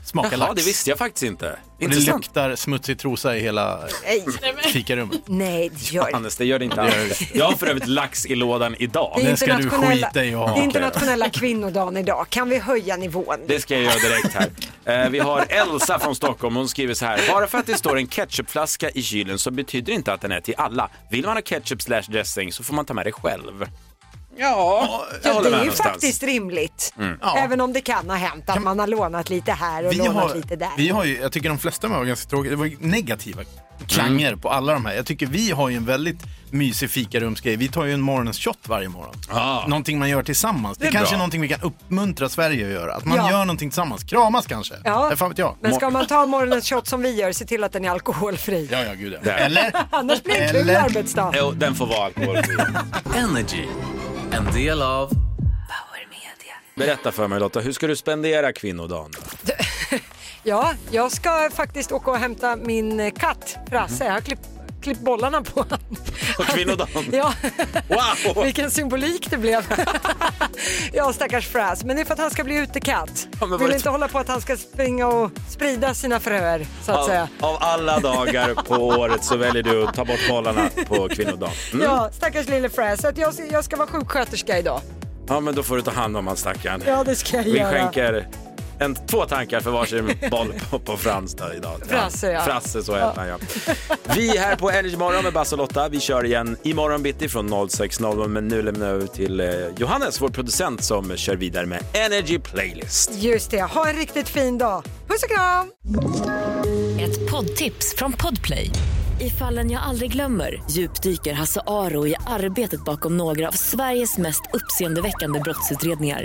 Speaker 3: smakar
Speaker 1: Jaha,
Speaker 3: lax.
Speaker 1: det visste jag faktiskt inte.
Speaker 3: Och det
Speaker 1: Intressant.
Speaker 3: luktar smutsig trosa i hela
Speaker 2: Nej.
Speaker 3: fikarummet.
Speaker 2: Nej, det gör det
Speaker 1: Johannes, det gör det inte
Speaker 3: Det gör
Speaker 1: alls.
Speaker 3: det.
Speaker 1: Jag har för övrigt lax i lådan idag.
Speaker 2: Det är, internationella, det är internationella kvinnodagen idag. Kan vi höja nivån?
Speaker 1: Det ska jag göra direkt här. Eh, Vi har Elsa från Stockholm. Hon skriver så här. Bara för att det står en ketchupflaska i kylen så betyder det inte att den är till alla. Vill man ha ketchup slash dressing så får man ta med det själv. Ja, jag
Speaker 2: Ja,
Speaker 1: håller
Speaker 2: det
Speaker 1: med
Speaker 2: är ju
Speaker 1: någonstans.
Speaker 2: faktiskt rimligt.
Speaker 1: Mm.
Speaker 3: Ja.
Speaker 2: Även om det kan ha hänt att man har lånat lite här och
Speaker 3: Vi
Speaker 2: lånat
Speaker 3: har,
Speaker 2: lite där.
Speaker 3: vi har ju, jag tycker de flesta av dem var ganska tråkiga, det var ju negativa klanger
Speaker 2: Mm.
Speaker 3: på alla de här. Jag tycker vi har ju en väldigt mysig fikarumsgrej. Vi tar ju en morgonens shot varje morgon.
Speaker 1: Ah.
Speaker 3: Någonting man gör tillsammans. Det,
Speaker 2: Det är
Speaker 3: kanske
Speaker 2: bra.
Speaker 3: är någonting vi kan uppmuntra Sverige att göra. Att man
Speaker 2: Ja.
Speaker 3: gör någonting tillsammans. Kramas kanske.
Speaker 2: Ja.
Speaker 3: Det fan vet jag.
Speaker 2: Men ska man ta morgonens shot som vi gör, se till att den är alkoholfri.
Speaker 3: Ja, ja, gud
Speaker 1: ja.
Speaker 3: Eller?
Speaker 2: Annars blir det en kul
Speaker 7: Eller?
Speaker 2: arbetsdag.
Speaker 1: Jo, den får vara alkoholfri.
Speaker 7: Energy, en del av...
Speaker 1: Berätta för mig Lotta, hur ska du spendera kvinnodagen?
Speaker 2: Ja, jag ska faktiskt åka och hämta min eh, katt
Speaker 3: Mm.
Speaker 2: Frasse. Jag har klippt, klippt bollarna på honom.
Speaker 1: På kvinnodagen?
Speaker 2: Ja.
Speaker 1: Wow!
Speaker 2: Vilken symbolik det blev. ja, stackars Frass. Men det är för att han ska bli utekatt.
Speaker 1: men var
Speaker 2: Vill
Speaker 1: det-
Speaker 2: inte hålla på att han ska springa och sprida sina fröer, så att säga.
Speaker 1: Av, av alla dagar på året så väljer du att ta bort bollarna på kvinnodagen. Mm.
Speaker 2: Ja, stackars lille Frass. Så att jag, ska- jag ska vara sjuksköterska idag.
Speaker 1: Ja, men då får du ta hand om han stackaren.
Speaker 2: Ja, det ska jag
Speaker 1: Vi
Speaker 2: göra.
Speaker 1: skänker en, två tankar för varsin boll på, på Frans då idag.
Speaker 2: Frasse, ja.
Speaker 1: Frasse, så heter
Speaker 2: Ja.
Speaker 1: han ja. Vi här på Energy Morgon med Basse och Lotta, vi kör igen imorgon bitti från 06.00. Men nu lämnar jag över till eh, Johannes, vår producent, som kör vidare med Energy Playlist.
Speaker 2: Just det. Ha en riktigt fin dag. Puss och kram!
Speaker 10: Ett poddtips från Podplay. I fallen jag aldrig glömmer djupdyker Hasse Aro i arbetet bakom några av Sveriges mest uppseendeväckande brottsutredningar.